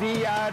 Vi er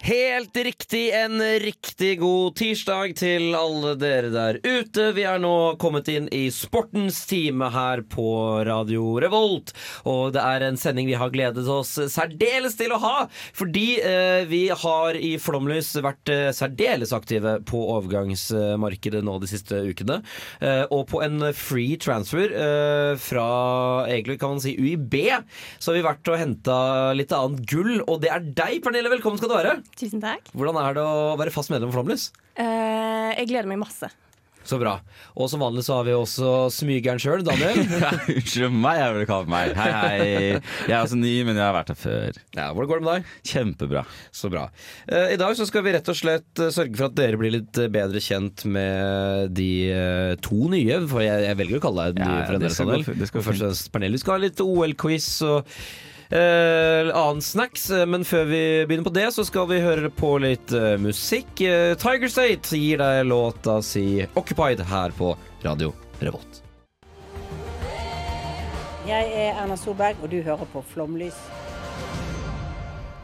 Helt riktig, en riktig god tirsdag til alle dere der ute. Vi er nå kommet inn i sportens time her på Radio Revolt. Og det er en sending vi har gledet oss særdeles til å ha, fordi eh, vi har i Flomlys vært eh, særdeles aktive på overgangsmarkedet nå de siste ukene. Eh, og på en free transfer eh, fra egentlig kan man si UiB, så har vi vært og henta litt annet gull, og det er deg, Pernille. Velkommen skal du være. Tusen takk. Hvordan er det å være fast medlem av Flomlys? Eh, jeg gleder meg masse. Så bra. Og som vanlig så har vi også smygeren sjøl, Daniel. Unnskyld meg, jeg vil kalle meg. Hei, hei. Jeg er også ny, men jeg har vært her før. Ja, Hvordan går det med deg? Kjempebra. Så bra. Eh, I dag så skal vi rett og slett eh, sørge for at dere blir litt eh, bedre kjent med de eh, to nye, for jeg, jeg velger å kalle deg den Ja, nye for en det del, skal gå Daniel. fint, det skal gå Først og fint. fremst Pernille, vi skal ha litt OL-quiz og eh, annen snacks, eh, men før vi begynner på det, så skal vi høre på litt eh, musikk. Eh, Tiger State gir deg låta si 'Occupied' her på Radio Revolt. Jeg er Erna Solberg, og du hører på Flomlys.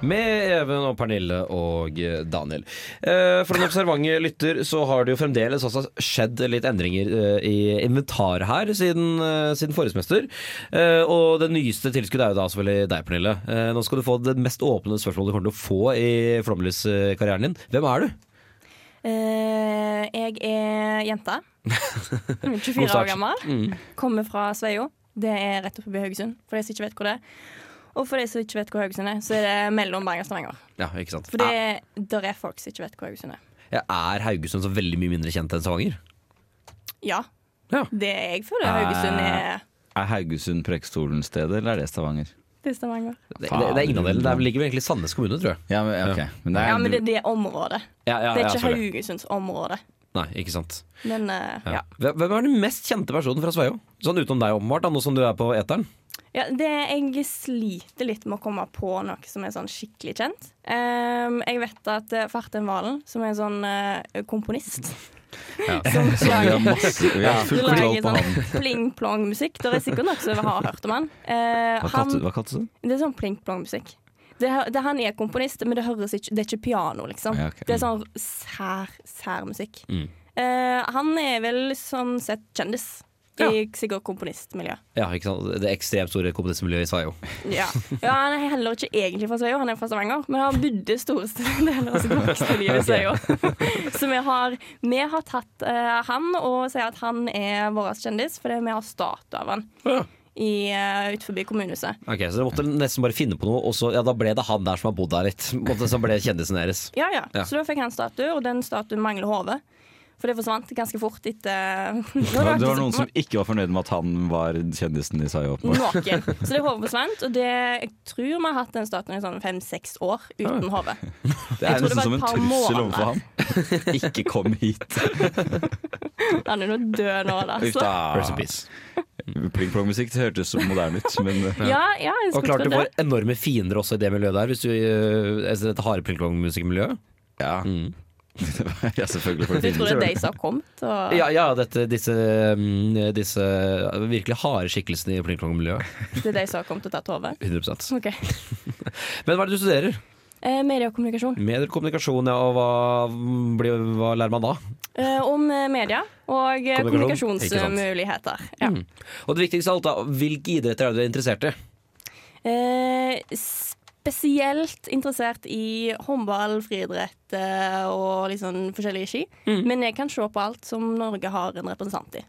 Med Even og Pernille og eh, Daniel. Eh, For den observante lytter så har det jo fremdeles også skjedd litt endringer eh, i inventaret her siden, eh, siden forrige semester. Eh, Og det nyeste tilskuddet er jo da selvfølgelig deg, Pernille. Eh, Nå skal du få det mest åpne spørsmålet du kommer til å få i Flåmlys-karrieren din. Hvem er du? Eh, jeg er jenta. 24 start. Mm. år gammel. Kommer fra Sveio. Det er rett oppe i Haugesund, for de som ikke vet hvor det er. Og for de som ikke vet hvor Haugesund er, så er det mellom Bergen og Stavanger. Ja, ikke sant. For det, der er folk som ikke vet hvor Haugesund er. Er- Er Haugesund så veldig mye mindre kjent enn Stavanger? Ja, Ja. Eh. det er jeg føler Haugesund er Er Haugesund Preikestolen stedet, eller er det Stavanger? Det er Stavanger. Det, det, det er ingen av delene. Det er vel- ligger vel egentlig i Sandnes kommune, tror jeg. Ja, men, ja, ok. men det er, Ja, men det er det området. Ja, ja, Det er ja, ikke sorry. Haugesunds område. Nei, ikke sant. Men eh, ja. Ja. Hvem hvem er den mest kjente personen fra Sveio? Sånn utenom deg, åpenbart, da, nå som du er på eteren. Ja, det, jeg sliter litt med å komme på noe som er sånn skikkelig kjent. Ehm, jeg vet at eh, Farten Valen, som er en sånn eh, komponist som vi har lager, masse Vi har full kontroll lager på han. sånn pling-plong-musikk. Det er sikkert noen som har hørt om han. Eh, Hva han kalte du- hva kalte du det? det er sånn pling-plong-musikk. Det, hø- det, han er komponist, men det, høres ikke, det er ikke piano, liksom. Ja, ok. Mm. Det er sånn sær, sær musikk. Eh, han er vel sånn sett kjendis i sikkert komponistmiljøet. Ja, ikke sant? Det ekstremt store kommunistmiljøet i Sveio. Ja. ja, han er heller ikke egentlig fra Sveio, han er fra Stavanger, men han bodde store deler av sitt voksne liv i Sveio. Så vi har, vi har tatt eh, han og sier at han er vår kjendis, fordi vi har statue av han i, eh, ut forbi kommunehuset. Ok, Så dere måtte nesten bare finne på noe, og så ja, da ble det han der som har bodd der litt. Måtte, som ble kjendisen deres. Ja, ja, Ja. Så da fikk han statue, og den statuen mangler hode. For det forsvant ganske fort etter Det var, det var noen som ikke var fornøyd med at han var kjendisen de sa jo opp. Noen. Så det hodet forsvant, og det, jeg tror vi har hatt den statuen i sånn fem-seks år uten hode. Det er tror det nesten var et som en par trussel måneder. overfor han. Ikke kom hit. Han er jo død nå, da. Uff Så. Rest in da. peace. Pling-plong-musikk det hørtes så moderne ut, men eh, Ja, ja, jeg Og skulle klart du tro det. får enorme fiender også i det miljøet der, hvis du øh, altså dette harde pling-plong-musikkmiljøet. ja. Ja, selvfølgelig. for Du det tror det er de som har kommet? Og... Mm, Ja, ja dette, disse, mm, disse virkelig harde skikkelsene i pling-plong-miljøet. Det er de som har kommet og tatt over? 100 Ok. Men hva er det du studerer? Eh, media og kommunikasjon. Medier, kommunikasjon, ja, og hva, mm, blir, hva lærer man da? Eh, om eh, media og eh, Kommunikasjon, ikke sant. kommunikasjonsmuligheter. Ja. Mm. Og det viktigste av alt, da, hvilke idretter er du interessert i? Eh, spesielt interessert i håndball, friidrett eh, og litt sånn forskjellige ski. Mm. Men jeg kan se på alt som Norge har en representant i.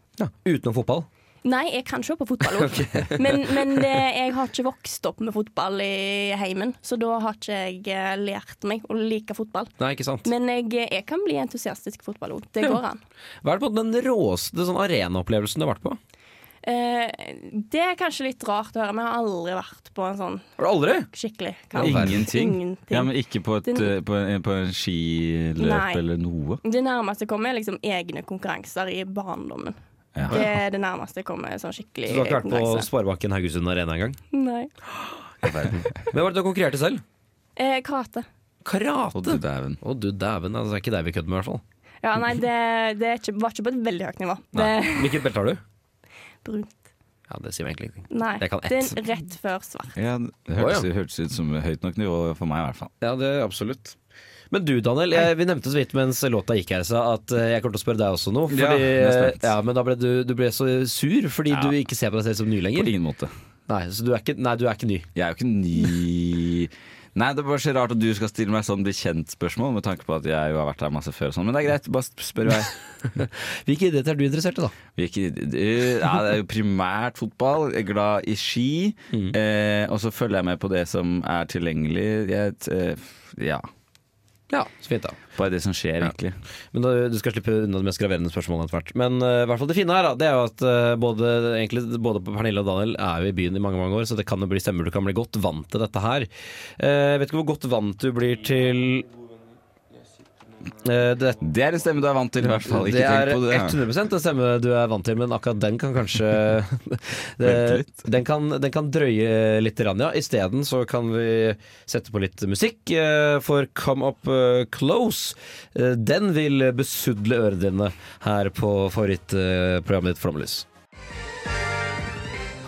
Utenom fotball? Nei, jeg kan se på fotball òg, men, men det, jeg har ikke vokst opp med fotball i heimen, så da har ikke jeg eh, lært meg å like fotball. Nei, ikke sant. Men jeg, jeg kan bli entusiastisk fotballord. Det går an. Hva er det på den råeste sånn arenaopplevelsen du har vært på? Eh, Eh, det er kanskje litt rart å høre. Vi har aldri vært på en sånn Har du aldri? skikkelig kamp. Ingenting. Ingenting. Ja, men ikke på, et, Den- eh, på, en, på en skiløp Nei. eller noe. Det nærmeste jeg kommer, er liksom egne konkurranser i barndommen. Ja. Det er det nærmeste jeg kommer sånn skikkelig Så du har ikke vært på konkurranse. Sparebanken Haugesund Arena engang? Nei. Hvem var det du konkurrerte selv? Eh, karate. Å, Karate! du dæven. Å du dæven, altså, det er ikke deg vi kødder med i hvert fall. Ja, nei, det, det er ikke, var ikke på et veldig høyt nivå. Det Nei. Hvilket belte har du? brunt. Ja, Det sier meg egentlig ingenting. Nei. Jeg kan ett. Det er rett før svart. Ja, det hørtes, Å, ja. hørtes ut som høyt nok nivå for meg, i hvert fall. Ja, det er absolutt. Men du, Daniel, jeg, vi nevnte så vidt mens låta gikk her, så at eh, jeg kommer til å spørre deg også nå. Ja, Fordi, eh, jeg er spent. ja, men da ble du, du ble så sur fordi Ja. du ikke ser på deg selv som ny På lenger. ingen måte. Nei, så du er ikke, nei, du er ikke ny. Jeg er jo ikke ny Nei, det er bare så rart at du skal stille meg sånn bli kjent-spørsmål, med tanke på at jeg jo har vært her masse før og sånn, men det er greit, bare sp- spør hva jeg Hvilke idretter er du interessert i, da? Hvilke- øh, ja, det er jo primært fotball. Jeg er glad i ski. Eh, og så følger jeg med på det som er tilgjengelig. Jeg, eh, f- ja. Ja, så fint da Bare det som skjer, egentlig. Men da, Du skal slippe unna de mest graverende spørsmålene etter hvert. Men eh, i hvert fall det fine her da, Det er jo at eh, både, egentlig, både Pernille og Daniel er jo i byen i mange mange år, så det kan jo bli stemmer du kan bli godt vant til dette her. Eh, Jeg vet ikke hvor godt vant du blir til eh, det, Det er en stemme du er vant til, i hvert fall. Ikke det er tenk på det. 100 en stemme du er vant til, men akkurat den kan kanskje det, Vente litt. den, kan, den kan drøye litt, rann, ja. Isteden så kan vi sette på litt musikk eh, for Come Up eh, Close. Eh, Den vil besudle ørene dine her på favorittprogrammet ditt Flomlys.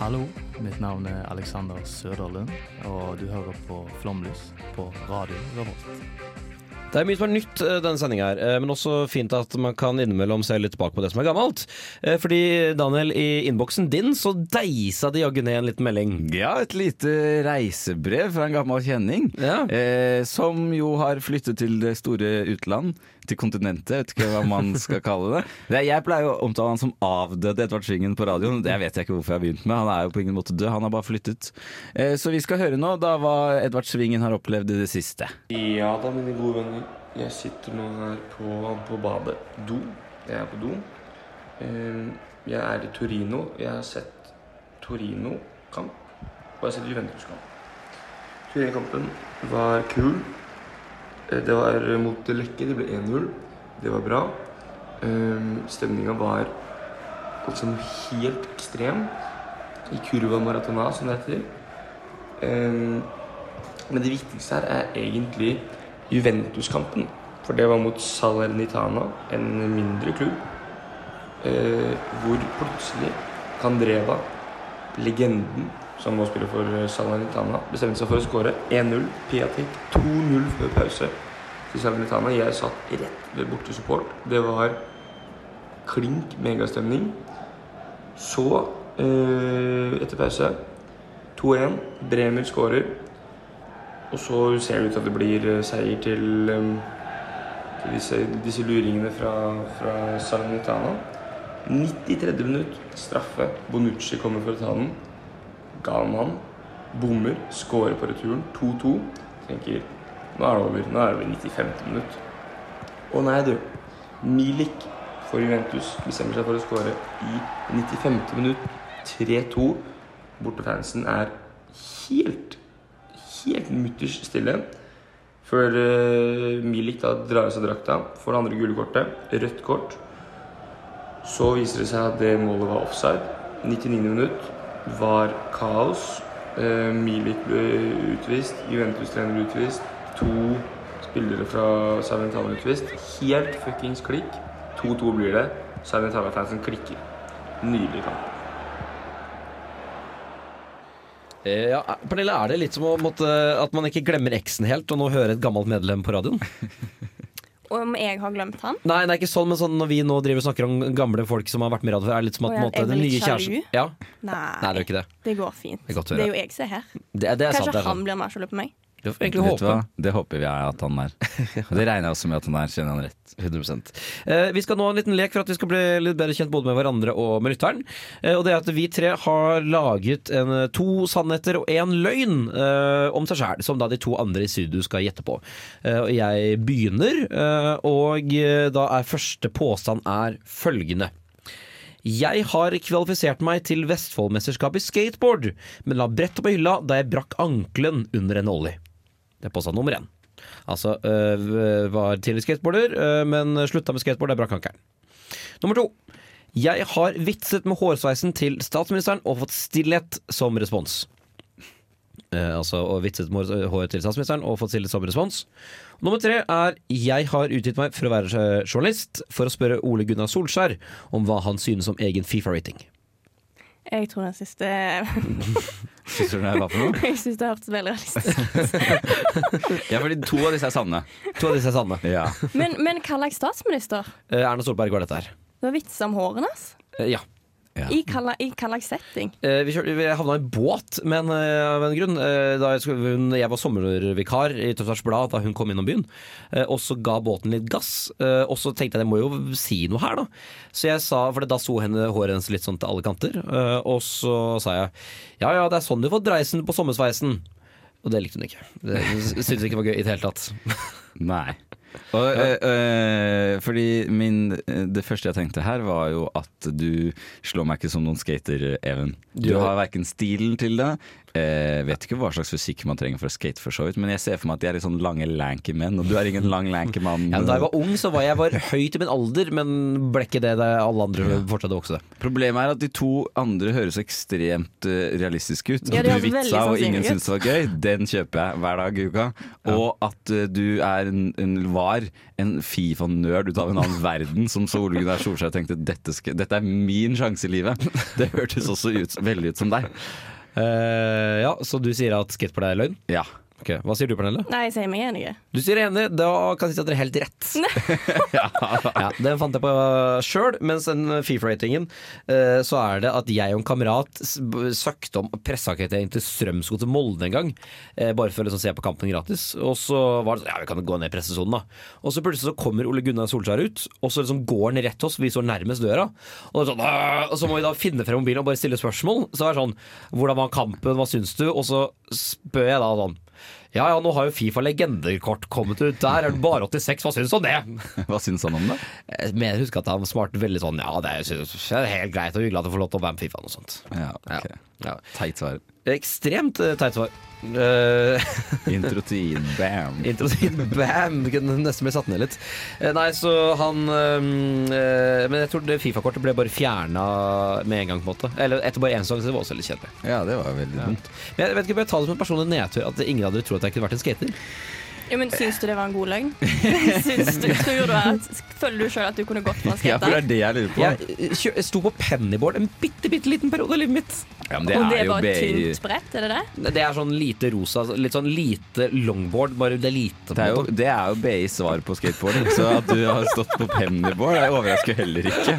Hallo, mitt navn er Alexander Søderlund, og du hører på Flomlys på Radio Revolt. Det er mye som er nytt eh, denne sendinga her, eh, men også fint at man kan innimellom se litt bak på det som er gammelt. Eh, Fordi, Daniel, i innboksen din så deisa de jaggu ned en liten melding. Ja, et lite reisebrev fra en gammel kjenning. Ja. Eh, som jo har flyttet til det store utland. Til kontinentet, jeg vet ikke hva man skal kalle det. det er, jeg pleier jo å omtale han som avdøde Edvard Svingen på radioen. Det vet jeg ikke hvorfor jeg har begynt med. Han er jo på ingen måte død, han har bare flyttet. Eh, så vi skal høre nå da hva Edvard Svingen har opplevd i det siste. Ja da, mine gode venner. Jeg sitter nå her på, på badet. Do. Jeg er på do. Ehm, Jeg er i Torino. Jeg har sett Torino-kamp. Og jeg har sett Juventus-kamp. Torino-kampen var kul. Eh, Det var mot Lekke. Det ble 1-0. Det var bra. Um, Stemninga var altså noe helt ekstrem. I Curva Maratona, som det heter. Ehm, men det viktigste her er egentlig Juventus-kampen. For det var mot Salernitana, en mindre klubb. Eh, hvor plutselig Candreva, legenden som nå spiller for eh, Salernitana, bestemte seg for å skåre 1-0. Piatek 2-0 før pause til Salernitana. Jeg satt rett ved bortesupport. Det var klink megastemning. Så, eh, etter pause, 2-1. Bremer skårer. Og så ser det ut til at det blir eh, seier til, ehm, til disse, disse luringene fra, fra Salernitana. 93. minutt, straffe. Bonucci kommer for å ta den. Galman bommer, scorer på returen. 2-2. Tenker nå er det over. Nå er det over 95. minutt. Å nei, du. Milik for Juventus bestemmer seg for å skåre i 95. minutt. 3-2. Bortefansen er helt helt mutters stille. Før eh, Milik da drar av seg drakta, får det andre gule kortet, rødt kort. Så viser det seg at det målet var offside. 99. minutt var kaos. Eh, Milik ble utvist, Juventus-trener ble utvist, to spillere fra Salernitana ble utvist. Helt fuckings klikk. 2-2 blir det. Salernitana-fansen klikker. Nydelig kamp. Eh, Ja, Pernille, er det litt som å måtte, at man ikke glemmer eksen helt, og nå hører et gammelt medlem på radioen? Om jeg har glemt han? Nei, det er ikke sånn, men sånn når vi nå driver og snakker om gamle folk som har vært med i radio før, er det litt som at Å på ja, en måte, er vi den nye litt kjæresten sjalu? ja, Nei, Nei, det er jo ikke det. det går fint. Det er godt å det er høre. jo jeg som er her. Det, det er sant. Kanskje Det er han sant. blir mer sjalu på meg. Du får egentlig Vet du håpe. hva? Det håper jeg at han er. Og det regner jeg også med at han er, kjenner han rett. 100 eh, Vi skal nå ha en liten lek for at vi skal bli litt bedre kjent både med hverandre og med lytteren. Eh, og det er at vi tre har laget en, eh, to sannheter og én løgn eh, om seg sjæl, som da de to andre i studio skal gjette på. Eh, og jeg begynner, eh, og eh, da er første påstand er følgende. Jeg har kvalifisert meg til Vestfoldmesterskapet i skateboard, men la brettet på hylla da jeg brakk ankelen under en ollie. Det er påstand nummer én. Altså øh, var tidligere skateboarder, øh, men slutta med skateboard, det brakk ankelen. Nummer to. Jeg har vitset med hårsveisen til statsministeren og fått stillhet som respons. Eh, altså og vitset med hår- håret til statsministeren og fått stillhet som respons. Nummer tre er jeg har utgitt meg for å være eh, journalist for å spørre Ole Gunnar Solskjær om hva han synes om egen Fifa-rating. Jeg tror den siste Syns du det var for noe? Jeg syns det hørtes veldig realistisk ut. Ja, fordi to av disse er sanne. To av disse er sanne. Ja. Men, men hva slags statsminister? Eh, Erna Solberg var dette her. Det var vitser om hårene hans. Eh, ja. I hva la- i hva slags setting? Eh, vi, kjørte, vi havna i båt, men eh, av en grunn. Eh, da jeg, skulle, hun, jeg var sommervikar i Tønsbergs Blad da hun kom innom byen. Eh, og så ga båten litt gass. Eh, og så tenkte jeg jeg må jo si noe her, da. Så jeg sa, for da sto henne, håret hennes litt sånn til alle kanter. Eh, og så sa jeg ja ja, det er sånn du får dreisen på sommersveisen. Og det likte hun ikke. Det syntes ikke var gøy i det hele tatt. Nei. Og, øh, øh, fordi min, eh, det første jeg tenkte her, var jo at du slår meg ikke som noen skater, Even. Du Du har- har verken stilen til det, eh, vet ikke hva slags fysikk man trenger for å skate, for så vidt, men jeg ser for meg at de er litt sånn lange, lanky menn, og du er ingen lang, lanky mann. Ja, men da jeg var ung, så var jeg var høy til min alder, men ble ikke det da alle andre fortsatte å vokse. Problemet er at de to andre høres ekstremt eh, realistiske ut. Ja, de At du høres veldig vitsa og sannsynlige ingen ut. syntes det var gøy, den kjøper jeg hver dag i uka. Og at eh, du er en, en var en Fifa-nerd ut av en annen verden, som så Ole Gunnar Solskjær tenkte dette, skal, dette er min sjanse i livet. Det hørtes også ut, veldig ut som deg. Eh, ja, Så du sier at skateboard er løgn? Ja. Ok, Hva sier du, Pernille? Nei, jeg sier meg enig. Du sier enig, da kan jeg si at dere er helt rett. ja, den fant jeg på sjøl, mens den Fifa-ratingen eh, så er det at jeg og en kamerat s- b- søkte om presseakkreditering til Strømsgodset til Molde en gang, eh, bare for å liksom, se på kampen gratis. Og så var det sånn ja, vi kan gå ned i pressesonen, da. Og så plutselig så kommer Ole Gunnar Solskjær ut, og så liksom går han rett til oss, vi står nærmest døra. Og, det er sånn, «Åh!» og så må vi da finne frem mobilen og bare stille spørsmål. Så det er sånn hvordan var kampen, hva syns du? Og så spør jeg da sånn ja ja, nå har jo Fifa legendekort kommet ut. Der er det bare 86, hva syns du om det? Hva syns han om det? Jeg mener, jeg husker at han svarte veldig sånn ja, det er, jeg synes det er helt greit og hyggelig at du får lov til å være med i Fifa og sånt. Ja, ok. Ja. Teit svar. Ekstremt eh, teit svar. Eh, Introtin, bam. Introduksjon, bam! Det kunne nesten blitt satt ned litt. Eh, Nei, så han eh, eh, Men jeg tror det Fifa-kortet ble bare fjerna med en gang, på en måte. Eller etter bare én sang, så det var også litt kjedelig. Ja, det var veldig dumt. Men jeg vet ikke, bør jeg ta det som en personlig nedtur at ingen av dere tror at jeg kunne vært en skater? Ja, men Syns du det var en god løgn? Syns du, tror du at, føler du sjøl at du kunne gått for en Ja, for det skater? er det jeg lurer på. Jeg eh, kjø- jeg sto på pennyboard en bitte, bitte liten periode av livet mitt. Ja, men Og det var et BI. tynt brett, er det det? Det er sånn lite rosa, altså, litt sånn lite longboard, bare det er lite. Det er, jo, på en måte. det er jo BIs svar på skateboarding, så at du har stått på pennyboard det overrasker heller ikke.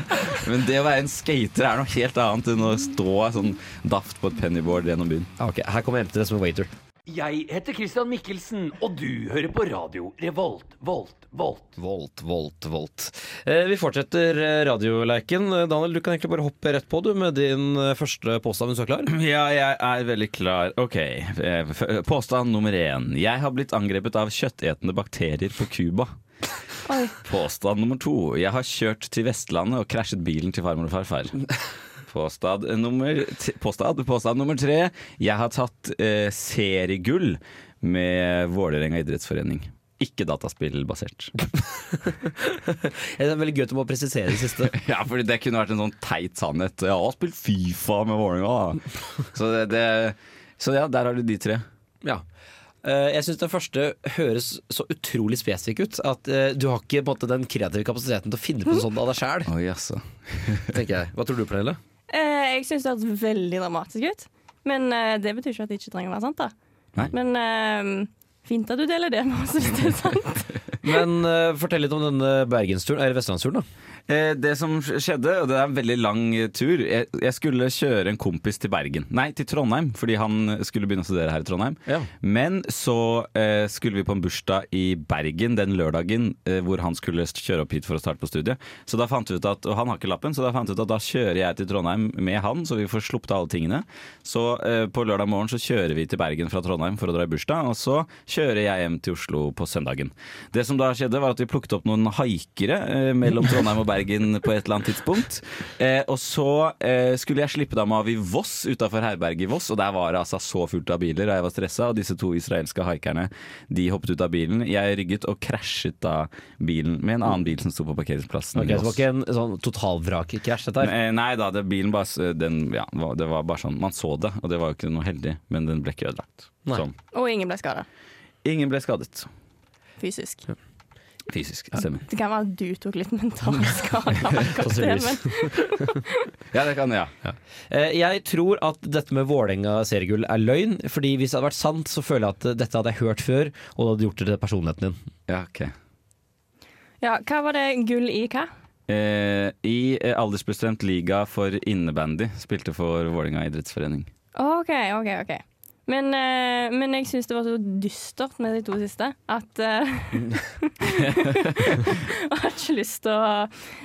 Men det å være en skater er noe helt annet enn å stå sånn daft på et pennyboard gjennom byen. Ah, ok, Her kommer jeg hjem til det som en waiter. Jeg heter Christian Mikkelsen, og du hører på radio Revolt, Volt, Volt. Volt, volt, volt. Eh, vi fortsetter eh, radioleiken. Eh, Daniel, du kan egentlig bare hoppe rett på du med din eh, første påstand, hvis du er klar. Ja, jeg er veldig klar. Ok, eh, f- eh, påstand nummer én. Jeg har blitt angrepet av kjøttetende bakterier på Cuba. Oi. Påstand nummer to. Jeg har kjørt til Vestlandet og krasjet bilen til farmor og farfar. Påstand nummer, t- påstand, påstand nummer tre. Jeg har tatt eh, seriegull med Vålerenga idrettsforening. Ikke dataspillbasert. Ja, Det er veldig gøy at du må presisere det siste. Ja, fordi det kunne vært en sånn teit sannhet. Jeg har spilt Fifa med Vålerenga. da. Så, det, det, så ja, der har du de tre. Ja. Eh, Jeg syns den første høres så utrolig spesifikk ut at eh, du har ikke på en måte, den kreative kapasiteten til å finne på noe sånt av deg sjæl, Oi, jaså. tenker jeg. Hva tror du, Pernille? Eh, jeg syns det hørtes veldig dramatisk ut. Men eh, det betyr ikke at det ikke trenger å være sant. da Nei. Men eh, fint at du deler det med oss hvis det er sant. Men eh, fortell litt om denne bergensturen, eller vestlandsturen, da. Eh, det som skjedde, og det er en veldig lang eh, tur jeg, jeg skulle kjøre en kompis til Bergen. Nei, til Trondheim, fordi han skulle begynne å studere her i Trondheim. Ja. Men så eh, skulle vi på en bursdag i Bergen den lørdagen eh, hvor han skulle st- kjøre opp hit for å starte på studiet. Så da fant vi ut at, Og han har ikke lappen, så da fant vi ut at da kjører jeg til Trondheim med han, så vi får sluppet alle tingene. Så eh, på lørdag morgen så kjører vi til Bergen fra Trondheim for å dra i bursdag, og så kjører jeg hjem til Oslo på søndagen. Det som som da skjedde, var at vi plukket opp noen haikere eh, mellom Trondheim og Bergen på et eller annet tidspunkt. Eh, og så eh, skulle jeg slippe dem av i Voss, utafor herberget i Voss, og der var det altså så fullt av biler, og jeg var stressa, og disse to israelske haikerne de hoppet ut av bilen. Jeg rygget og krasjet da bilen med en annen bil som sto på parkeringsplassen. Ok, så i det var Voss. ikke en sånn totalvrakkrasj, dette her? Eh, Nei da, det, bilen bare, s- den, ja, var- det var bare sånn Man så det, og det var jo ikke noe heldig, men den ble ikke ødelagt. Nei. Sånn. Og ingen ble skada Ingen ble skadet. fysisk. Fysisk. Stemmer. Det kan være at du tok litt mental skade. av akkurat det, Sannsynligvis. men Ja, det kan ja. Eh, Jeg tror at dette med Vålerenga seriegull er løgn. Fordi hvis det hadde vært sant, så føler jeg at eh, dette hadde jeg hørt før, og det hadde gjort det til personligheten din. ja ok. Ja, hva var det gull i hva? Eh, I eh, aldersbestemt liga for innebandy spilte for Vålinga idrettsforening. OK, OK. ok Men, eh, men jeg syns det var så dystert med de to siste at eh, Jeg har ikke lyst til å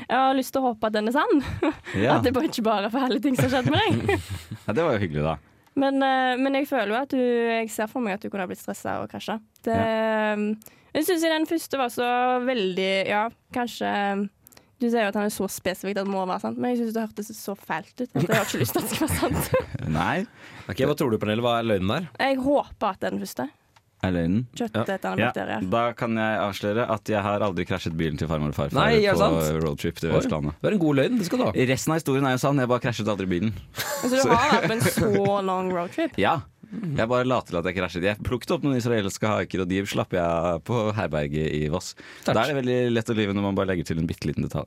Jeg har lyst til å håpe at den er sann. Ja. At det bare ikke bare er forferdelige ting som har skjedd med deg. ja, Det var jo hyggelig, da. Men, eh, men jeg føler jo at du Jeg ser for meg at du kunne ha blitt stressa og krasja. Det- eh, Jeg syns den første var så veldig Ja, kanskje Du sier jo at han er så spesifikk at det må være sant, men jeg syns det hørtes så fælt ut. At jeg har ikke lyst til at det skal være sant. Nei, Ok, Hva tror du, Pernille? Hva er løgnen der? Jeg håper at det er den første. er løgnen. Kjøttetende Ja, bakterier. da kan jeg avsløre at jeg har aldri krasjet bilen til farmor og farfar Nei, er det på sant? roadtrip til Oi, Vestlandet. Det er en god løgn. Det skal du ha. Resten av historien er jo sann, jeg bare krasjet aldri bilen. Så Altså, du har vært på en så lang roadtrip? Ja. Mm. Jeg bare la til at jeg krasjet. Jeg plukket opp noen israelske haker, og de slapp jeg av på herberget i Voss. Da er det veldig lett å lyve når man bare legger til en bitte liten detalj.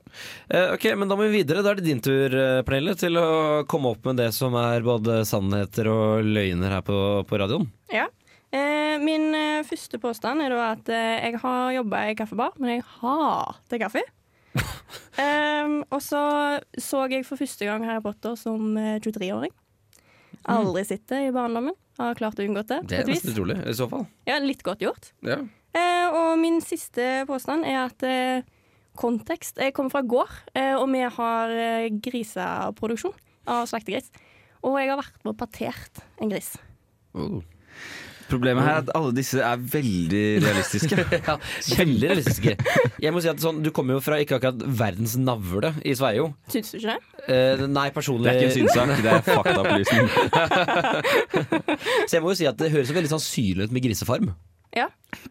Eh, ok, men Da må vi videre. Da er det din tur, eh, Pernille, til å komme opp med det som er både sannheter og løgner her på, på radioen. Ja. Eh, min eh, første påstand er da at eh, jeg har jobba i kaffebar, men jeg hater kaffe. Em, og så så jeg for første gang Harry Potter som eh, 23-åring. Aldri sett det i barndommen. Har klart å unngå det. på Det et er nesten vis. utrolig, i så fall. Ja, litt godt gjort. Ja. Eh, og min siste påstand er at eh, kontekst Jeg kommer fra gård, eh, og vi har eh, griseproduksjon av slaktegris. Og jeg har vært med og partert en gris. Problemet her er at alle disse er veldig realistiske. Ja, Veldig realistiske. Jeg må si at sånn, Du kommer jo fra ikke akkurat verdens navle i Sveio. Syns du ikke det? Eh, nei, personlig Det er ikke en synssak, det er faktaopplysning. Så jeg må jo si at det høres jo veldig sannsynlig ut med grisefarm. Ja.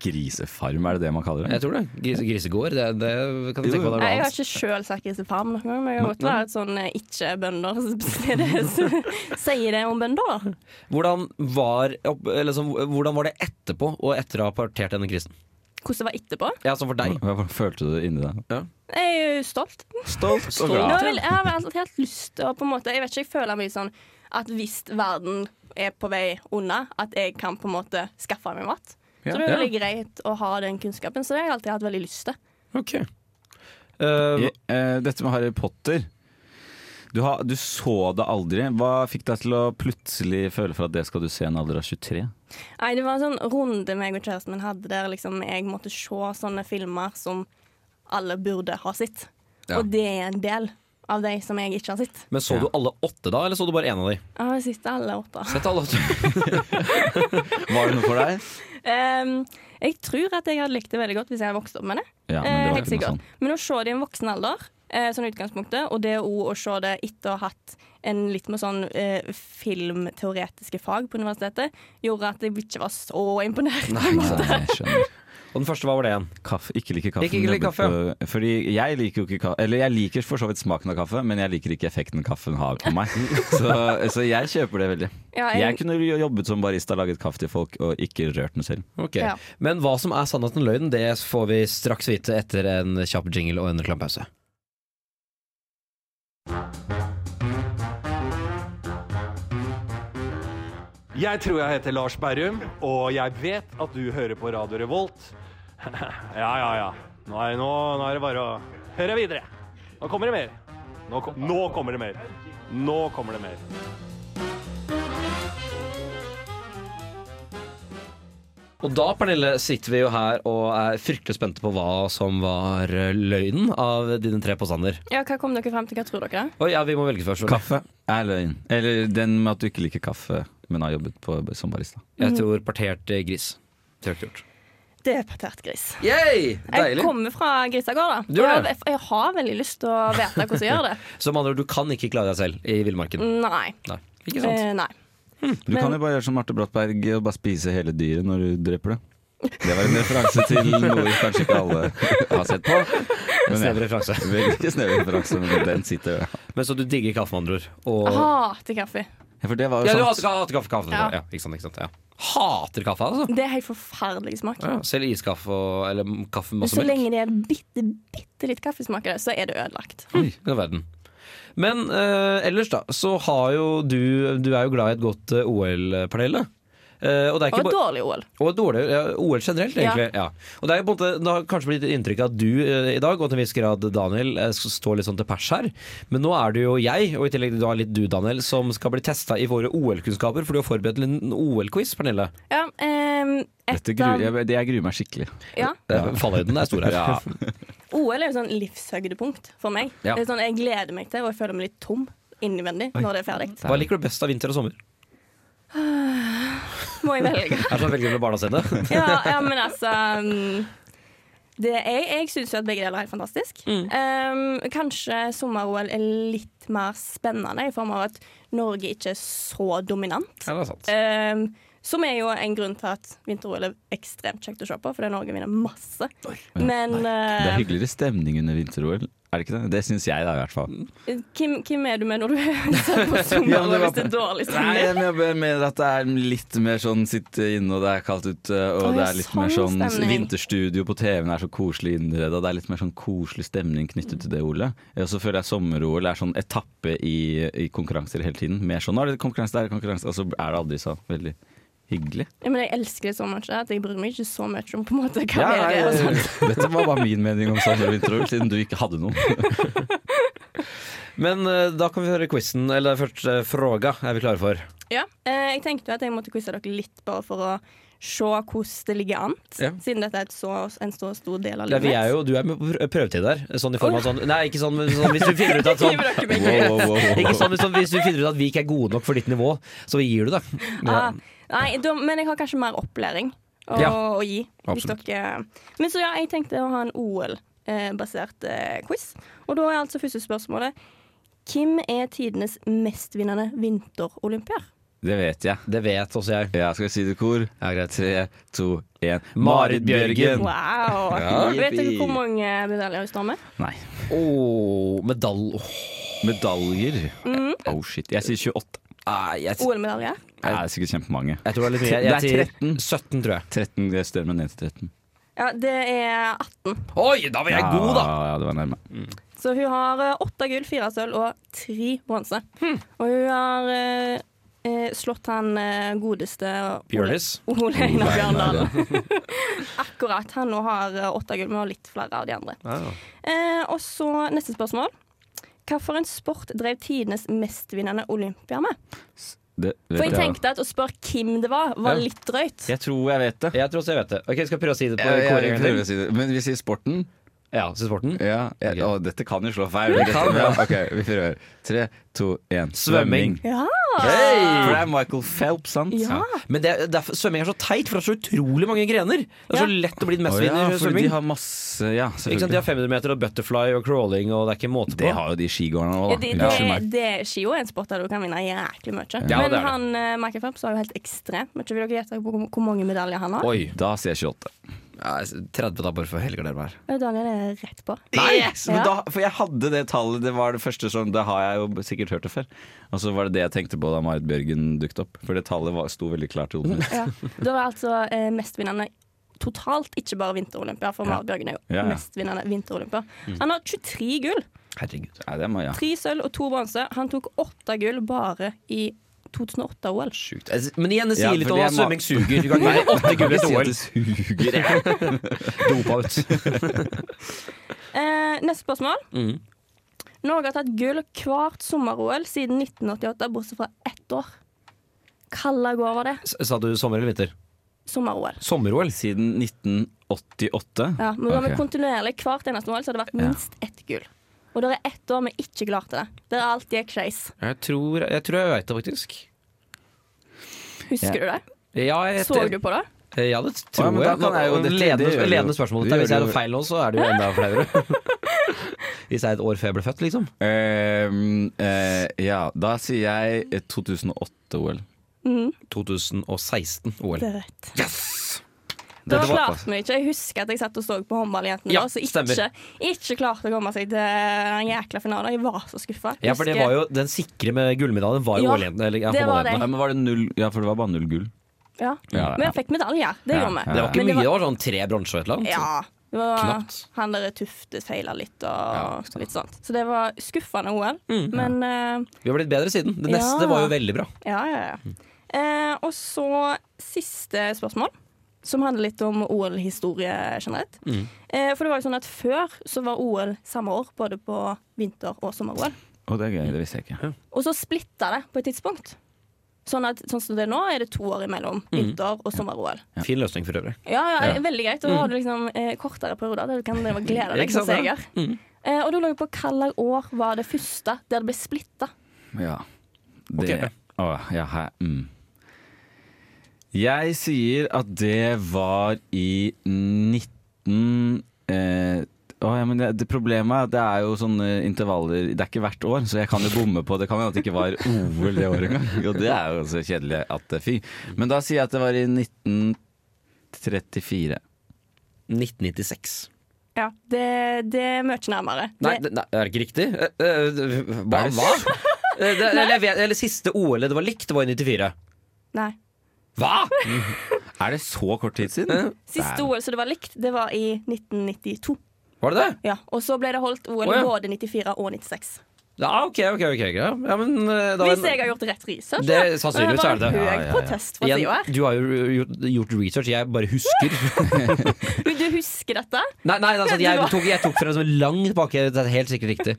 Grisefarm, er det det man kaller det? Jeg tror det. Gris, grisegård, det, det kan vi tenke på. Det er noe Nei, jeg har annet. ikke sjøl sagt grisefarm noen gang, men jeg har godt vært sånn eh, ikke-bønder som sier det om bønder. da. Hvordan var, opp- eller sånn, hvordan var det etterpå, og etter å ha partert denne grisen? Hvordan det var etterpå. Ja, sånn for deg. Hva hva følte du inni deg? Jeg er jo stolt. Stolt og Nå glad. vil, jeg har alltid hatt lyst til å på en måte Jeg vet ikke, jeg føler mye sånn at hvis verden er på vei unna, at jeg kan på en måte skaffe meg mat. Så det er veldig greit å ha den kunnskapen, så det har jeg alltid hatt veldig lyst til. Ok. Eh, Je- eh, Dette med Harry Potter. Du, har, du så det aldri. Hva fikk deg til å plutselig føle for at det skal du se i en alder av 23? Nei, det var en sånn runde meg og kjæresten min hadde der liksom jeg måtte se sånne filmer som alle burde ha sett. Og det er en del av de som jeg ikke har sett. men så du alle åtte da, eller så du bare én av de? Jeg har sett alle åtte. Sett alle åtte. Var det noe for deg? Ehm, jeg tror at jeg hadde likt det veldig godt hvis jeg hadde vokst opp med det. Ja, men Eh, det helt var ikke noe sikkert. sånn. Men å se det i en voksen alder, eh, sånn i utgangspunktet, og det òg å se det etter å ha hatt en litt mer sånn eh, filmteoretiske fag på universitetet, gjorde at jeg ikke var så imponert. sånn. Nei, jeg skjønner. Og den første, hva var det igjen? Kaffe, ikke liker kaffe. Ikke men liker jobber kaffe, på- Fordi jeg liker jo ikke kaffe Eller jeg liker for så vidt smaken av kaffe, men jeg liker ikke effekten kaffen har på meg. Så, så jeg kjøper det veldig. Ja, Jeg jeg- kunne jo jobbet som barista, laget kaffe til folk og ikke rørt den selv. Ok. Ja. Men hva som er sannheten og løgnen, det får vi straks vite etter en kjapp jingle og en reklamepause. Jeg tror jeg heter Lars Berrum, og jeg vet at du hører på Radio Revolt. ja, ja, ja. Nå er, nå, nå er det bare å høre videre. Nå kommer det mer. Nå, kom, nå kommer det mer. Nå kommer det mer. Og da, Pernille, sitter vi jo her og er fryktelig spente på hva som var eh, løgnen av dine tre påstander. Ja, hva kom dere frem til? Hva tror dere? Oi, ja, vi må velge først. Kaff. Kaffe er løgn. Eller den med at du ikke liker kaffe, men har jobbet på, som barista. Jeg tror partert eh, gris. Tørt gjort. Det er partert gris. Yay! Jeg Deilig. kommer fra grisegård, Du da. gjør Og det. jeg, jeg har veldig lyst til å vite hvordan jeg gjør det. Så med andre ord, du kan ikke klare deg selv i villmarken. Nei. Nei. Ikke sant? Mm. Eh, nei. Du kan jo bare gjøre som Marte Brattberg og bare spise hele dyret når du dreper det. Det var en referanse til noe kanskje ikke alle har sett på. Men Snever referanse. Veldig snever referanse, men den sitter. ja. Men så du digger kaffe, med andre ord. Jeg Og... hater kaffe. Ja, for det var jo sånn, Ja, du sånt. hater kaffe. Hater kaffe, kaffe. Ja. Ja, ikke sant, ikke sant, ja. Hater kaffe, altså. Det er helt forferdelig smak. Ja, selv iskaffe og, eller kaffe med masse Så melk. lenge det er bitte, bitte litt kaffesmak i det, så er det ødelagt. Oi, det er verden. Men eh, ellers, da, så har jo du Du er jo glad i et godt eh, OL, Pernille. Eh, og det er ikke Og bare- dårlig OL. Og dårlig, ja, OL generelt, egentlig. Ja. Og det, er jo på en måte, det har kanskje blitt inntrykk av at du eh, i dag, og til en viss grad Daniel, eh, s- står litt sånn til pers her. Men nå er det jo jeg, og i tillegg da litt du, Daniel, som skal bli testa i våre OL-kunnskaper. For du har forberedt en liten OL-quiz, Pernille. Ja, ehm, Dette et gruer, av, jeg, jeg gruer meg skikkelig. ja, Eh, Fallhøyden er stor her. OL er jo sånn livshøydepunkt for meg. Ja. Det er sånn Jeg gleder meg til, og jeg føler meg litt tom innvendig når det er ferdig. Hva liker du best av vinter og sommer? Må jeg velge. Er det sånn velger du barna sine? Ja, ja men altså mm, det er, Jeg syns jo at begge deler er helt fantastisk. Ehm, kanskje sommer-OL er litt mer spennende i form av at Norge ikke er så dominant. Ja, det er sant. Ehm, som er jo en grunn til at vinter-OL er ekstremt kjekt å se på, fordi Norge vinner masse. Men Det er eh, hyggeligere stemning under vinter-OL, er det ikke det? Det syns jeg, da, i hvert fall. hvem, hvem er du med når du ser på sommer-OL hvis det er dårlig Nei, stemning? jeg mener- mener at det er litt mer sånn sitte inne, og det er kaldt ute, og Å, det ja, er litt sånn mer sånn stemning. vinterstudio på TV-en er så koselig innreda, det er litt mer sånn koselig stemning knyttet til det, Ole. Og så føler jeg sommer-OL er sånn etappe i, i konkurranser hele tiden. Mer sånn 'nå er det konkurranse, der er det konkurranse', og så er det aldri så veldig hyggelig. Ja, men jeg elsker det så mye at jeg bryr meg ikke så mye om på en måte hva Ja, det altså. er. og nei, sånt. Eh, dette var bare min mening om sommer- og vinter-OL, siden du ikke hadde noen. Men eh, da kan vi høre quizen, eller først eh, fråga. Er vi klare for? Ja, eh, jeg tenkte jo at jeg måtte quize dere litt bare for å se hvordan det ligger an. Ja. Siden dette er et så, en så stor del av Ja, livet vi er jo, du er med på prø- prøvetid der. Sånn i form av sånn Nei, ikke sånn, men sånn hvis du finner ut at sånn Gi meg Wow, wow, wow, wow. Ikke sånn, men sånn hvis du finner ut at vi ikke er gode nok for ditt nivå, så gir du deg. Ah, nei, da, men jeg har kanskje mer opplæring å, Ja, å gi. Hvis dere, men så ja, jeg tenkte å ha en OL-basert eh, quiz. Og da er altså første spørsmålet Hvem er tidenes mestvinnende vinterolympier? Det vet jeg. Det vet også jeg. Ja, skal vi si det i kor? Ja, greit. Tre, to, én. Marit Bjørgen. Wow! Ja, Vet dere jippi. hvor mange medaljer hun står med? Nei. Åh, medal... Åh, Medaljer. Oh shit. Jeg sier 28. nei, jeg, OL-medaljer? Det er sikkert kjempemange. jeg tror det er litt mye. Det er Jeg, sier 13. 17, tror jeg. 13, det er større enn 1 til 13. Ja, det er 18. Oi, da var jeg god, da! Ja, det var nærme. Så hun har eh, åtte gull, fire sølv og tre bronse. Og hun har eh, eh, slått han eh, godeste Bjørnis. Ole, Ole Einar Bjørndal. Akkurat. Han nå har eh, åtte gull, men har litt flere av de andre. Eh, og så neste spørsmål. Hva for en sport drev tidenes mestvinnende Olympia med? Det vet For jeg jeg. tenkte at å spørre hvem det var, var Ja. litt drøyt. Jeg tror jeg vet det. Jeg tror også jeg vet det. Ok, Skal jeg prøve å si det på Jeg- jeg- kåringen jeg din? prøver å si det. Men vi sier sporten. Ja, si sporten. Ja, jeg, Ok. å, dette kan jo slå feil. Dette- kan, ja. Ok, vi prøver. Tre, to, én. Svømming. Ja! Hey! For det er Michael Phelps, sant? ja. Men det, er- derfor, svømming er så teit, for det er så utrolig mange grener. Det er så lett å bli den Å mest ja, vinnende i for de svømming. har masse Ja, Ikke sant? De selvfølgelig. har 500 meter og butterfly og crawling, og det er ikke måte på. Det har jo de skigåerne Ja, òg, da. det, det, Unnskyld meg. det, skio er en sport der du kan vinne jæklig mye. Ja, det er Men det. han, eh, Michael Phelps har jo helt ekstremt mye. Vil dere gjette på hvor hvor mange medaljer han har? Oi. Da sier jeg 28. Ja, 30 da, bare for å helgardere meg her. Ja, Eh, Daniel er rett på. Nei! Ja. Men da, for jeg hadde det tallet, det var det første som Det har jeg jo sikkert hørt det før. Og så var det det jeg tenkte på da Marit Bjørgen dukket opp. For det tallet var, sto veldig klart i hodet mitt. Ja. Da var altså eh, mestvinnende totalt, ikke bare vinterolympia, for Marit Bjørgen er jo Ja, Mm. ja. mestvinnende vinterolympia. Han har 23 gull, Herregud. Nei, det må jeg. tre sølv og to bronse. Han tok åtte gull bare i 2008-OL. Sjukt. Altså, Men igjen, det sier Ja, litt om fordi at jeg må- svømming suger. Du kan ikke vinne åtte gull etter OL. suger, Dopa ut. Eh, neste spørsmål. Mhm. Norge har tatt gull hvert sommer-OL siden 1988, bortsett fra ett år. Hvilket år var det? S- Sa du sommer eller vinter? Sommer-OL. Sommer-OL. Siden 1988. Ja, men da Ok. vi kontinuerlig hvert eneste OL, så har det vært Ja. minst ett gull. Og det er ett år vi ikke klarte det. Der alt gikk skeis. Jeg tror jeg, tror jeg veit det, faktisk. Husker du det? Ja, jeg, Så du på det? Eh, Ja, det Å, ja, tror men da jeg. kan jeg jo- Og dette- ledende, det gjør jo- ledende spørsmål. det dette. gjør Hvis jeg jo- hadde feil nå, så er det jo enda flauere. Hvis jeg er et år før jeg ble født, liksom. Ehm, eh, ja, da sier jeg eh, 2008-OL. 2016 OL. Det er rett. Da Dette var- klarte vi ikke. Jeg husker at jeg satt og så på håndballjentene. Ja, da, så ikke, stemmer. ikke klarte å komme seg til den jækla finalen. Jeg var så skuffa. Ja, for det var jo den sikre med gullmedaljen var jo Ja, OL-jentene. eller, Ja, det var det. Ja, men var det null Ja, for det var bare null gull. ja. Ja, Men jeg fikk medaljer. Det Ja, gjorde vi. Det var ikke Men det mye, det var sånn tre bronse og et eller annet. Ja. Det var Knapt. Han der Tufte feila litt og litt sånt. Så det var skuffende OL. men eh, Vi har blitt bedre siden. Det Ja. neste var jo veldig bra. Ja, ja, ja. Eh, og så siste spørsmål, som handler litt om OL-historie generelt. Eh, for det var jo sånn at før så var OL samme år, både på vinter- og sommer-OL. Å, det er gøy. Det visste jeg ikke. Og så splitta det på et tidspunkt. Sånn, at, sånn som det er nå, er det to år imellom vinter- og sommer-OL. Fin løsning for øvrig. Ja, ja, veldig greit. Og da har du liksom eh, kortere perioder der du kan drive og glede deg Mm. Ikke til sant, ja. Mm. seger. Eh, og da lurer jeg på hvilket år var det første der det ble splitta? Ja. Det Å, ja, hæ. Mm. Jeg sier at det var i 19... Eh, å, ja, men det, det Problemet er at det er jo sånne intervaller Det er ikke hvert år, så jeg kan jo bomme på det. kan jo at det ikke var OL det året engang. Jo, det er jo så kjedelig at det fy. Men da sier jeg at det var i 1934. 1996. Ja, det, det er mye nærmere. Nei, det, det, nei, er det ikke riktig? Eh, eh, Hva? hva? Eh, Det, eller, jeg vet, eller siste OL det var likt, det var i 94. nei. Hva?! Er det så kort tid siden? Siste OL som det var likt, det var i 1992. Var det det? Ja, og så ble det holdt OL Å, ja. både 94 og 96. Ja, ok, ok. ok, ok. Ja, men, eh, da- Hvis jeg har gjort rett research. Det- da. sannsynligvis var er det det. en Ja, høy protest fra sida her. Igjen, du har jo gjort, gjort research, jeg bare husker. Men du husker dette? Nei, nei, altså, jeg, tok, jeg tok frem som langt bak, det er helt sikkert riktig.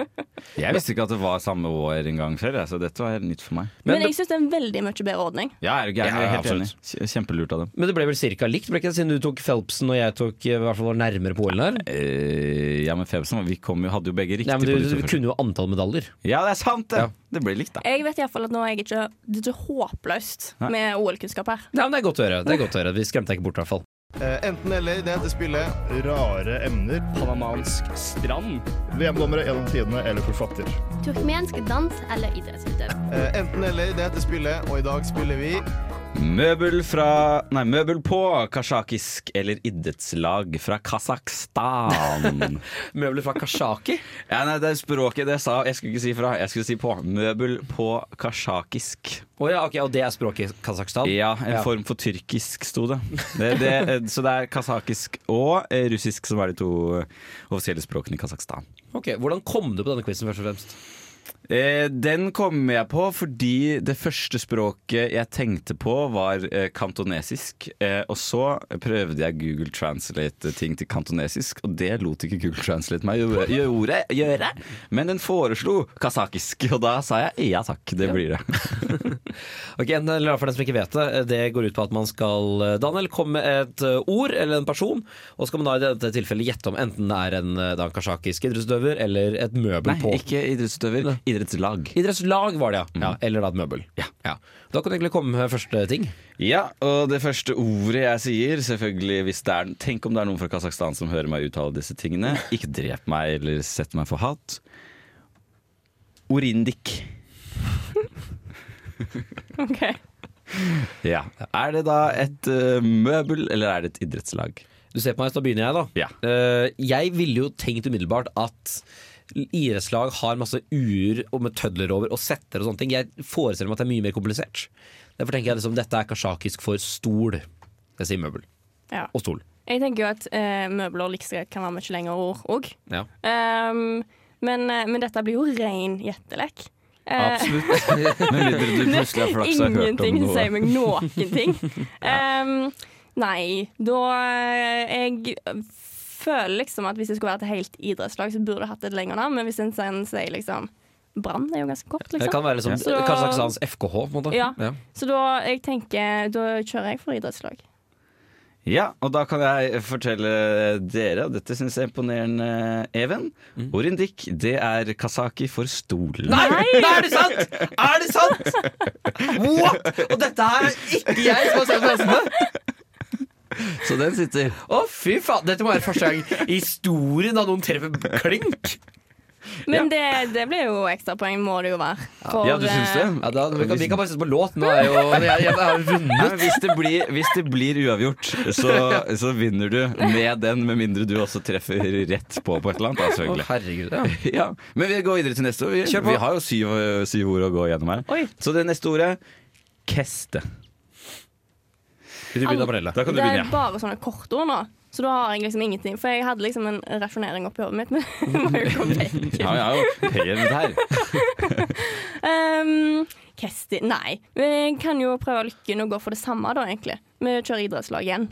Jeg visste ikke at det var samme år en gang før, jeg, så dette var helt nytt for meg. Men, Men det, jeg syns det er en veldig mye bedre ordning. Ja, er du Ja, gæren? Jeg er helt enig. absolutt. Kje- Kjempelurt av dem. men det ble vel cirka likt, ble ikke det, siden du tok Phelpsen og jeg tok eh, i hvert fall var nærmere på OL-en her? Eh, ja, men Febsen, vi kom jo, hadde jo begge riktig Nei, men på du, de to du første. kunne jo antall medaljer. Ja, det er sant, det! Det ble likt, da. Jeg vet i hvert fall at nå er jeg ikke, det er ikke håpløst Nei. med OL-kunnskap her. Nei, men Det er godt å høre. det er godt å høre Vi skremte deg ikke bort, i hvert fall. enten eller, det heter spillet. Rare emner. Panamansk strand. VM-dommere gjennom tidene eller forfatter. Turkmensk dans eller idrettsutøver. Eh, enten eller, det heter spillet, og i dag spiller vi Møbel fra Nei, møbel på kasjakisk eller idrettslag fra Kasakhstan. Møbler fra Kashaki. ja, nei, det er språket det sa jeg skulle ikke si fra. Jeg skulle si på. Møbel på kasjakisk. Å ja, ok, Og det er språket i Kasakhstan? Ja, en Ja. form for tyrkisk, sto det. det, det eh, så det er kasakisk og eh, russisk som er de to eh, offisielle språkene i Kasakhstan. Ok, Hvordan kom du på denne quizen, først og fremst? Eh, den kom jeg på fordi det første språket jeg tenkte på, var eh, kantonesisk. Eh, og så prøvde jeg Google translate ting til kantonesisk, og det lot ikke Google translate meg gjøre. gjøre, gjøre. Men den foreslo kasakisk, og da sa jeg ja takk, det blir det. Ok, en, eller For den som ikke vet det, eh, det går ut på at man skal eh, Daniel komme med et eh, ord eller en person, og så skal man da i dette tilfellet gjette om enten det er en, eh, da, en kasjakisk idrettsutøver eller et møbel Nei, på. ikke idrettsutøver. Idrettslag. Idrettslag var det, ja. ja. Eller da et møbel. Ja. Da kan du egentlig komme med første ting. Ja, og det første ordet jeg sier, selvfølgelig hvis det er Tenk om det er noen fra Kasakhstan som hører meg uttale disse tingene. Ikke drep meg eller sett meg for hat. Orindik. Ok. Ja. Er det da et eh, møbel, eller er det et idrettslag? Du ser på meg, så da begynner jeg, da. Ja. Eh, jeg ville jo tenkt umiddelbart at idrettslag har masse uer og med tødler over og setter og sånne ting. Jeg forestiller meg at det er mye mer komplisert. Derfor tenker jeg liksom dette er kasjakisk for stol. Jeg sier møbel. Ja. Og stol. Jeg tenker jo at eh, møbler like så greit kan være mye lengre ord òg. Ja. men, eh, men dette blir jo ren gjettelek. Eh, Absolutt. Men mindre du plutselig har flaks og har hørt om Ingenting noe. sier meg noen ting. Ehm, nei, da eh, Jeg føler liksom at hvis det skulle vært et helt idrettslag, så burde det hatt et lenger navn, men hvis en sen sier liksom Brann er jo ganske kort, Det liksom. kan være liksom Så- Kasakhstans FKH, på en måte. Ja. Så da, jeg tenker, da kjører jeg for idrettslag. Ja, og da kan jeg fortelle dere, og dette syns jeg er imponerende, Even. Mm. Orindik, det er kasaki for stol. Nei! Nei, er det sant?! Er det sant?! What?! Og dette her er ikke jeg som har sett på hestene! Så den sitter. Å, fy faen! Dette må være første gang i historien da noen treffer klink. Men det, det blir jo ekstrapoeng, må det jo være. For, eh, Ja, da, vi, kan, vi kan bare sette på låt. Nå er jo jeg, jeg, jeg har Nei, vunnet. men hvis, det blir, hvis det blir uavgjort, så, så vinner du med den, med mindre du også treffer rett på på et eller annet. Da, selvfølgelig. Å, herregud, ja. ja. Men vi går videre til neste ord. Vi, Kjør på. vi har jo syv, syv ord å gå gjennom her. Oi. Så det neste ordet keste. Vil du begynne, Amarella? Da kan du det begynne. er bare sånne kortord nå. Så da har jeg liksom ingenting. For jeg hadde liksom en rasjonering oppi hodet mitt, men det må jo komme vekk. Ja, vi er jo pent her. Um, Kesti Nei. Vi kan jo prøve lykken og gå for det samme, da, egentlig. Vi kjører idrettslag igjen.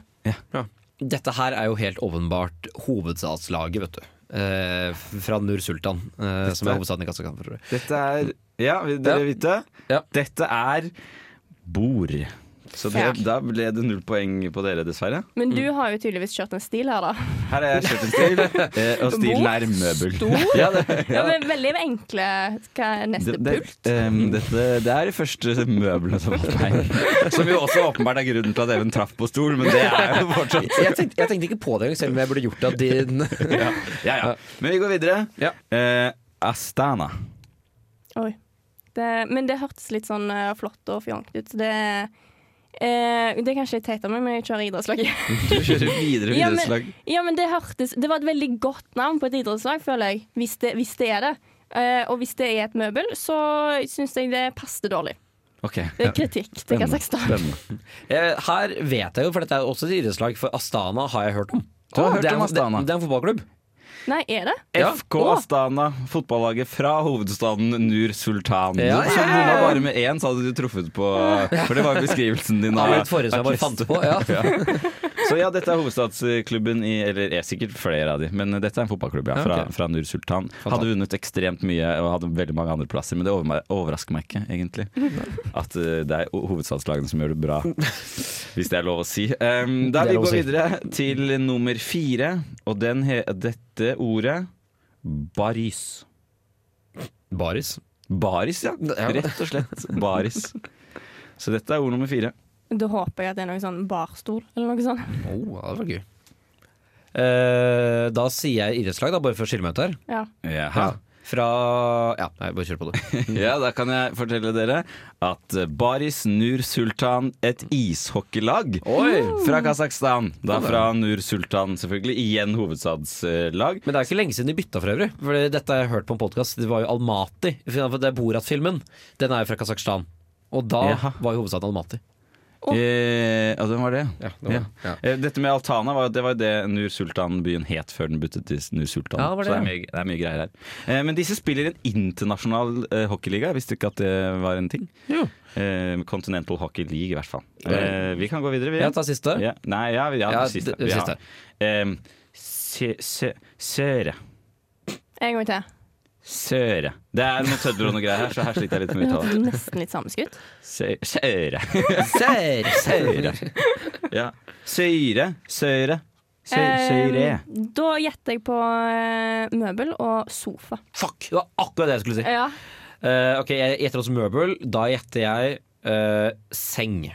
Dette her er jo helt åpenbart hovedstadslaget, vet du. Eh, fra Nur Sultan, eh, som er hovedstaden i Kasakhstan. tror jeg. Dette er Ja, vil dere Ja. vite? Ja. Dette er bord. Så det, Fair. da ble det null poeng på dere, dessverre. Men du har jo tydeligvis kjørt en stil her, da. Her er jeg kjøpt en stil, eh, og stilen er møbel. Stor. Ja, det, Ja, men veldig enkle Hva er neste Det- det- pult? ehm, dette, det er de første møblene som falt meg. Som jo også åpenbart er grunnen til at Even traff på stol, men det er jo fortsatt Jeg tenkte, jeg tenkte ikke på det engang, selv om jeg burde gjort det av din ja, ja, ja. Men vi går videre. Ja. Eh, Astana. Oi. Det, Eh, men det hørtes litt sånn eh, flott og fjongt ut, så det eh, Det er kanskje litt teit av meg, men jeg kjører idrettslag igjen. Du kjører videre Ja, men- idrettslag. Ja, men det hørtes Det var et veldig godt navn på et idrettslag, føler jeg. Hvis det, hvis det er det. Eh, og hvis det er et møbel, så syns jeg det passet dårlig. Ok. Det er kritikk til Spennende. Kasakhstan. Spennende. Eh, Her vet jeg jo, for dette er også et idrettslag, for Astana har jeg hørt om. Du har Å, hørt det er, om Astana. Det, det er en fotballklubb. Nei, er det? Ja. FK Astana, fotballaget fra hovedstaden Nur Sultan. Ja, Så ja, bomma bare med én, så hadde du truffet på For det var jo beskrivelsen din. Av et forrige som jeg bare artist. fant på. Ja. Så ja, dette er hovedstadsklubben i Eller er sikkert flere av de, men dette er en fotballklubb ja, Ja, fra, ok. fra Nur Sultan. Hadde vunnet ekstremt mye og hadde veldig mange andre plasser, men det overma- overrasker meg ikke, egentlig. At eh, det er ho- hovedstadslagene som gjør det bra, hvis det er lov å si. Um, da Det er vi lov å går si. videre til nummer fire, og den he dette ordet baris. Baris. Baris, ja. Ja. Rett og slett baris. Så dette er ord nummer fire. Da håper jeg at det er noe sånn barstol eller noe sånt. Oh, det var gøy. Eh, da sier jeg idrettslag, da, bare for å skille meg ut her. Ja. Jaha. Fra Ja, nei, bare kjør på det. Ja, da kan jeg fortelle dere at eh, Baris Nur Sultan, et ishockeylag fra Kasakhstan. Da fra Nur Sultan, selvfølgelig. Igjen hovedstadslag. Men det er jo ikke lenge siden de bytta for øvrig. For det- dette har jeg hørt på en podkast. Det var jo Almati. For det er Borat-filmen. Den er jo fra Kasakhstan. Og da Jaha. var jo hovedstaden Almati. Eh, ja, det var det. Ja, det var det. Ja. Eh, Dette med Altana var, det var jo det Nur Sultan-byen het før den byttet til Nur Sultan. Ja, det var det, Så det er, ja. mye, det er mye greier her. Eh, men disse spiller i en internasjonal eh, hockeyliga. Jeg visste ikke at det var en ting. Jo. Eh, Continental Hockey League, i hvert fall. Eh, vi kan gå videre, vi. Jeg tar siste. Ja, nei, ja, ja, Ja, det siste. det- det Ja. siste. Em, sø, sø, søre. En gang til. Søre. Det er noe tødder og noe greier her, så her sliter jeg litt med Det uttalen. hørtes nesten litt samskutt. Sø- Søre. Ser, Søre. Ja. Søyre. Søre. Sø- Søyre. Eh, da gjetter jeg på eh, møbel og sofa. Fuck! Det var akkurat det jeg skulle si. Ja. Eh, ok, Jeg gjetter også møbel. Da gjetter jeg eh, seng.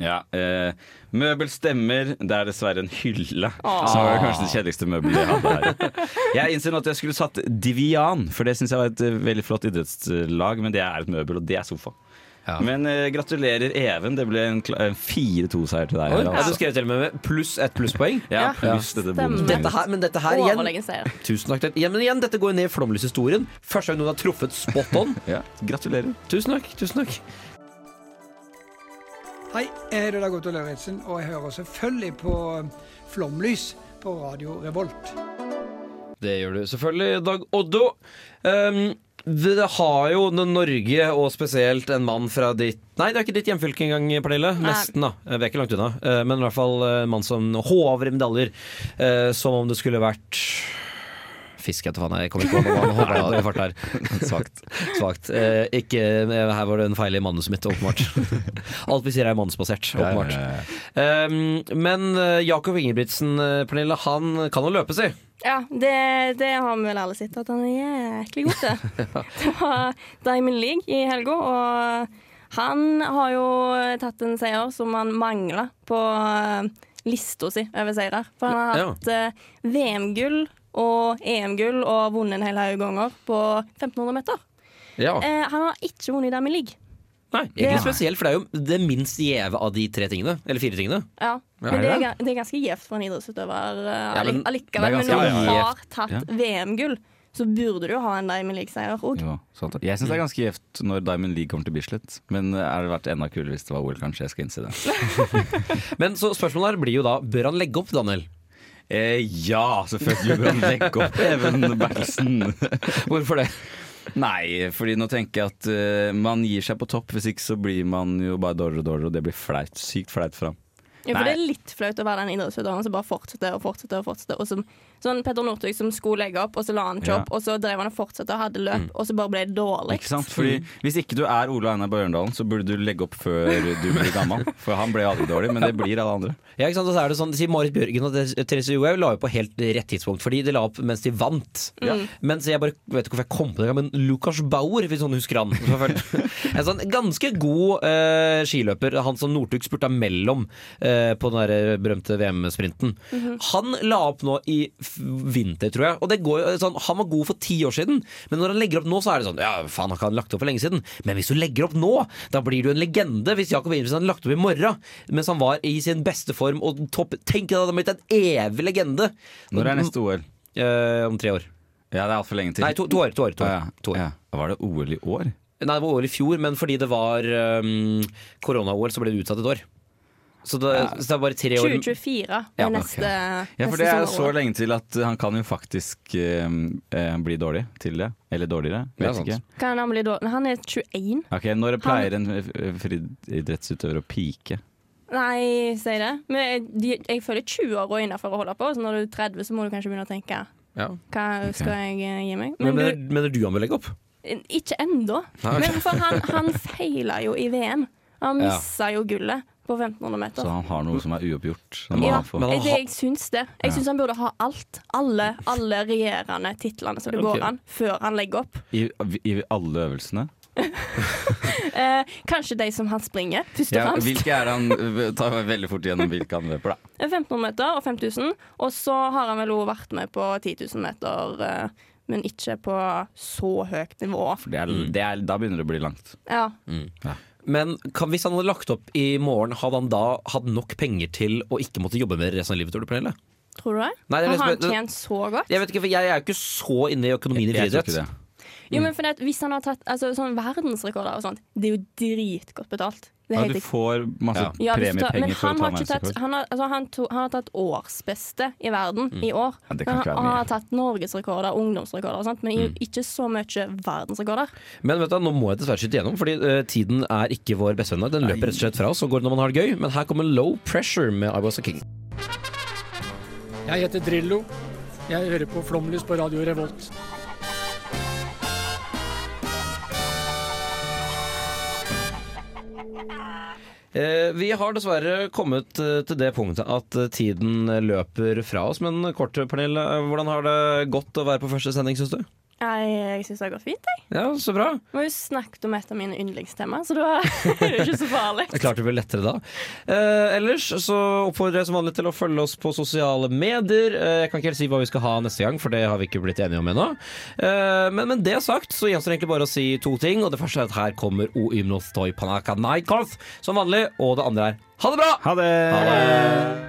Ja. eh, møbel stemmer. Det er dessverre en hylle. Som var kanskje det kjedeligste møbelet jeg hadde her. Jeg innser nå at jeg skulle satt Divian, for det syns jeg var et eh, veldig flott idrettslag. Men det er et møbel, og det er sofa. Ja. Men eh, gratulerer, Even. Det ble en kla- en 4-2-seier til deg. Oi, her, ja, du altså. skrev til og med med pluss ett plusspoeng. Ja, Ja, pluss dette stemmer. Dette bonuspoenget. her, men dette her igjen Overlegen seier. Tusen takk. Igjen, men igjen, dette går jo ned i flomlyshistorien. Første gang noen har truffet spot on. Ja, gratulerer. Tusen takk. tusen takk Hei, jeg heter Dag Otto Lauritzen, og jeg hører selvfølgelig på um, Flomlys på Radio Revolt. Det gjør du selvfølgelig, Dag Oddo. Um, det har jo Norge, og spesielt en mann fra ditt Nei, det er ikke ditt hjemfylke engang, Pernille. Nei. Nesten, da. Vi er ikke langt unna. Eh, Men i hvert fall eh, en mann som håver i medaljer. eh, Som om det skulle vært Fisk, jeg vet faen. Jeg kommer ikke på hva han håver i fart her. Svakt. Svakt. Eh, Ikke Her var det en feil i manuset mitt, åpenbart. Alt vi sier er mannsbasert, åpenbart. eh, Um, men eh, Jakob Ingebrigtsen, eh, Pernille, han kan jo løpe, si. Ja, det, det har vi vel alle sett at han er jæklig god til. Det var Diamond League i helga, og han har jo tatt en seier som han mangla på eh, lista si over seirer. For han har Ja. hatt eh, VM-gull og EM-gull og vunnet en hel haug ganger på 1500 meter. Ja. Eh, han har ikke vunnet Dam i league. Nei, det- egentlig spesielt, for det er jo det minst gjeve av de tre tingene. Eller fire tingene. Ja. Ja, er Men det det er, det? ga- det er ganske gjevt for en idrettsutøver eh, Ja, men allik- allikevel. det er Men ganske når du gjevt. har tatt Ja. VM-gull, så burde du jo ha en Dam i league-seier òg. Jo, sant det. Jeg syns det Mm. er ganske gjevt når Diamond League kommer til Bislett. Men eh, er det vært enda kulere hvis det var OL, kanskje. Jeg skal innse det. Men så spørsmålet her blir jo da bør han legge opp, Daniel? Eh, ja, selvfølgelig bør han legge opp Even Bertelsen. Hvorfor det? Nei, fordi nå tenker jeg at eh, man gir seg på topp. Hvis ikke så blir man jo bare dårligere og dårligere, og det blir flaut. Sykt flaut for ham. Ja, for Nei. det er litt flaut å være den idrettsutøveren som bare fortsetter og fortsetter. og fortsetter og som, Sånn Petter Northug som skulle legge opp, og så la han ikke Ja. opp, og så drev han og fortsatte og hadde løp, Mm. og så bare ble det dårlig. Ikke sant? Fordi Hvis ikke du er Ole Einar Bjørndalen, så burde du legge opp før du blir gammel. For han ble aldri dårlig, men det blir alle andre. Ja, ikke sant? Og så er det sånn, sier Marit Bjørgen og Therese Johaug la jo på helt rett tidspunkt, fordi de la opp mens de vant. Mm. Men så jeg bare vet ikke hvorfor jeg kom på det, men Lukas Bauer, hvis noen husker han. som har fulgt. en sånn ganske god eh, skiløper, han som Northug spurta mellom eh, på den der berømte VM-sprinten. Mhm. Han la opp nå i f- vinter, tror jeg. Og det går, jo- sånn, han var god for ti år siden, men når han legger opp nå, så er det sånn Ja, faen, har ikke han lagt opp for lenge siden? Men hvis du legger opp nå, da blir du en legende. Hvis Jakob Ingebrigtsen hadde lagt opp i morgen, mens han var i sin beste form og topp Tenk deg, det hadde blitt en evig legende. Eh, Når er neste OL? om tre år. Ja, det er altfor lenge til. Nei, to, to år. To år, to år. Ja, ja. To år. Ja. Var det OL i år? Nei, det var OL i fjor, men fordi det var um, korona-OL, så ble det utsatt et år. Så det, så det er bare tre år 2024 er Ja, men ok. neste, Ja, neste for det er jo så sommer-OL. lenge til at han kan jo faktisk eh, eh, bli dårlig til det. Eller dårligere. Ja, Vet sant. ikke. Kan han bli dårlig? Han er 21. Ok, Når pleier en f- friidrettsutøver å pike? Nei, si det. Men jeg, de, jeg føler 20-åra innafor å holde på. Så når du er 30, så må du kanskje begynne å tenke hva skal jeg eh, gi meg? Men Men mener, du, mener du han bør legge opp? ikke ennå. Nei. Men for han, han feila jo i VM. Han Ja. missa jo gullet på 1500 meter. Så han har noe som er uoppgjort. som Ja, han får. jeg, det, jeg syns det. Jeg Ja. syns han burde ha alt. Alle, alle regjerende titlene som det Ok. går an, før han legger opp. I, I alle øvelsene? Eh, kanskje de som han springer, først og Ja, fremst. hvilke er det han Ta meg veldig fort gjennom hvilke han løper, da. 1500 Eh, meter og 5000. Og så har han vel også vært med på 10 000 meter, eh, men ikke på så høyt nivå. For det er, det er, da begynner det å bli langt. Ja. Men kan, hvis han hadde lagt opp i morgen, hadde han da hatt nok penger til å ikke måtte jobbe med det resten av livet? Tror du, Pernille? Tror du det? Nei, det er har han liksom- det- tjent så godt? Jeg vet ikke, for jeg er jo ikke så inne i økonomien i Jeg- jeg tror friidrett. ikke det. Jo, men for det, at Hvis han har tatt altså, sånn verdensrekorder og sånt, det er jo dritgodt betalt. Det er Ja, helt du riktig. får masse Ja, hvis du tar- premiepenger men for å han ta har ikke tatt, verdensrekord. han har, altså, han, to, han har tatt årsbeste i verden Mm. i år. Ja, det Men kan han, ikke være han mye. Mm. har tatt norgesrekorder, ungdomsrekorder og sånt, men i- ikke så mye verdensrekorder. Men vet du, nå må jeg dessverre skyte gjennom, fordi eh, tiden er ikke vår bestevenn. Den løper rett og slett fra oss og går når man har det gøy. Men her kommer Low Pressure med I Was A King. Jeg heter Drillo. Jeg hører på Flomlys på Radio Revolt. Eh, Vi har dessverre kommet eh, til det punktet at eh, tiden løper fra oss. Men kort, Pernille, eh, hvordan har det gått å være på første sending, syns du? Jeg, jeg syns det har gått fint, jeg. Ja, så bra. Vi har jo snakket om et av mine yndlingstema, så da er det ikke så farlig. Det klarte vel lettere da. Eh, ellers så oppfordrer jeg som vanlig til å følge oss på sosiale medier. Eh, jeg kan ikke helt si hva vi skal ha neste gang, for det har vi ikke blitt enige om ennå. Eh, men med det sagt så gjenstår det egentlig bare å si to ting. Og det første er at her kommer O Ymnostoi Panaka Nykoth som vanlig. Og det andre er ha det bra! Ha det.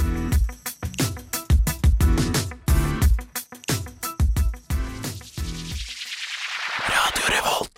Radio Revolt.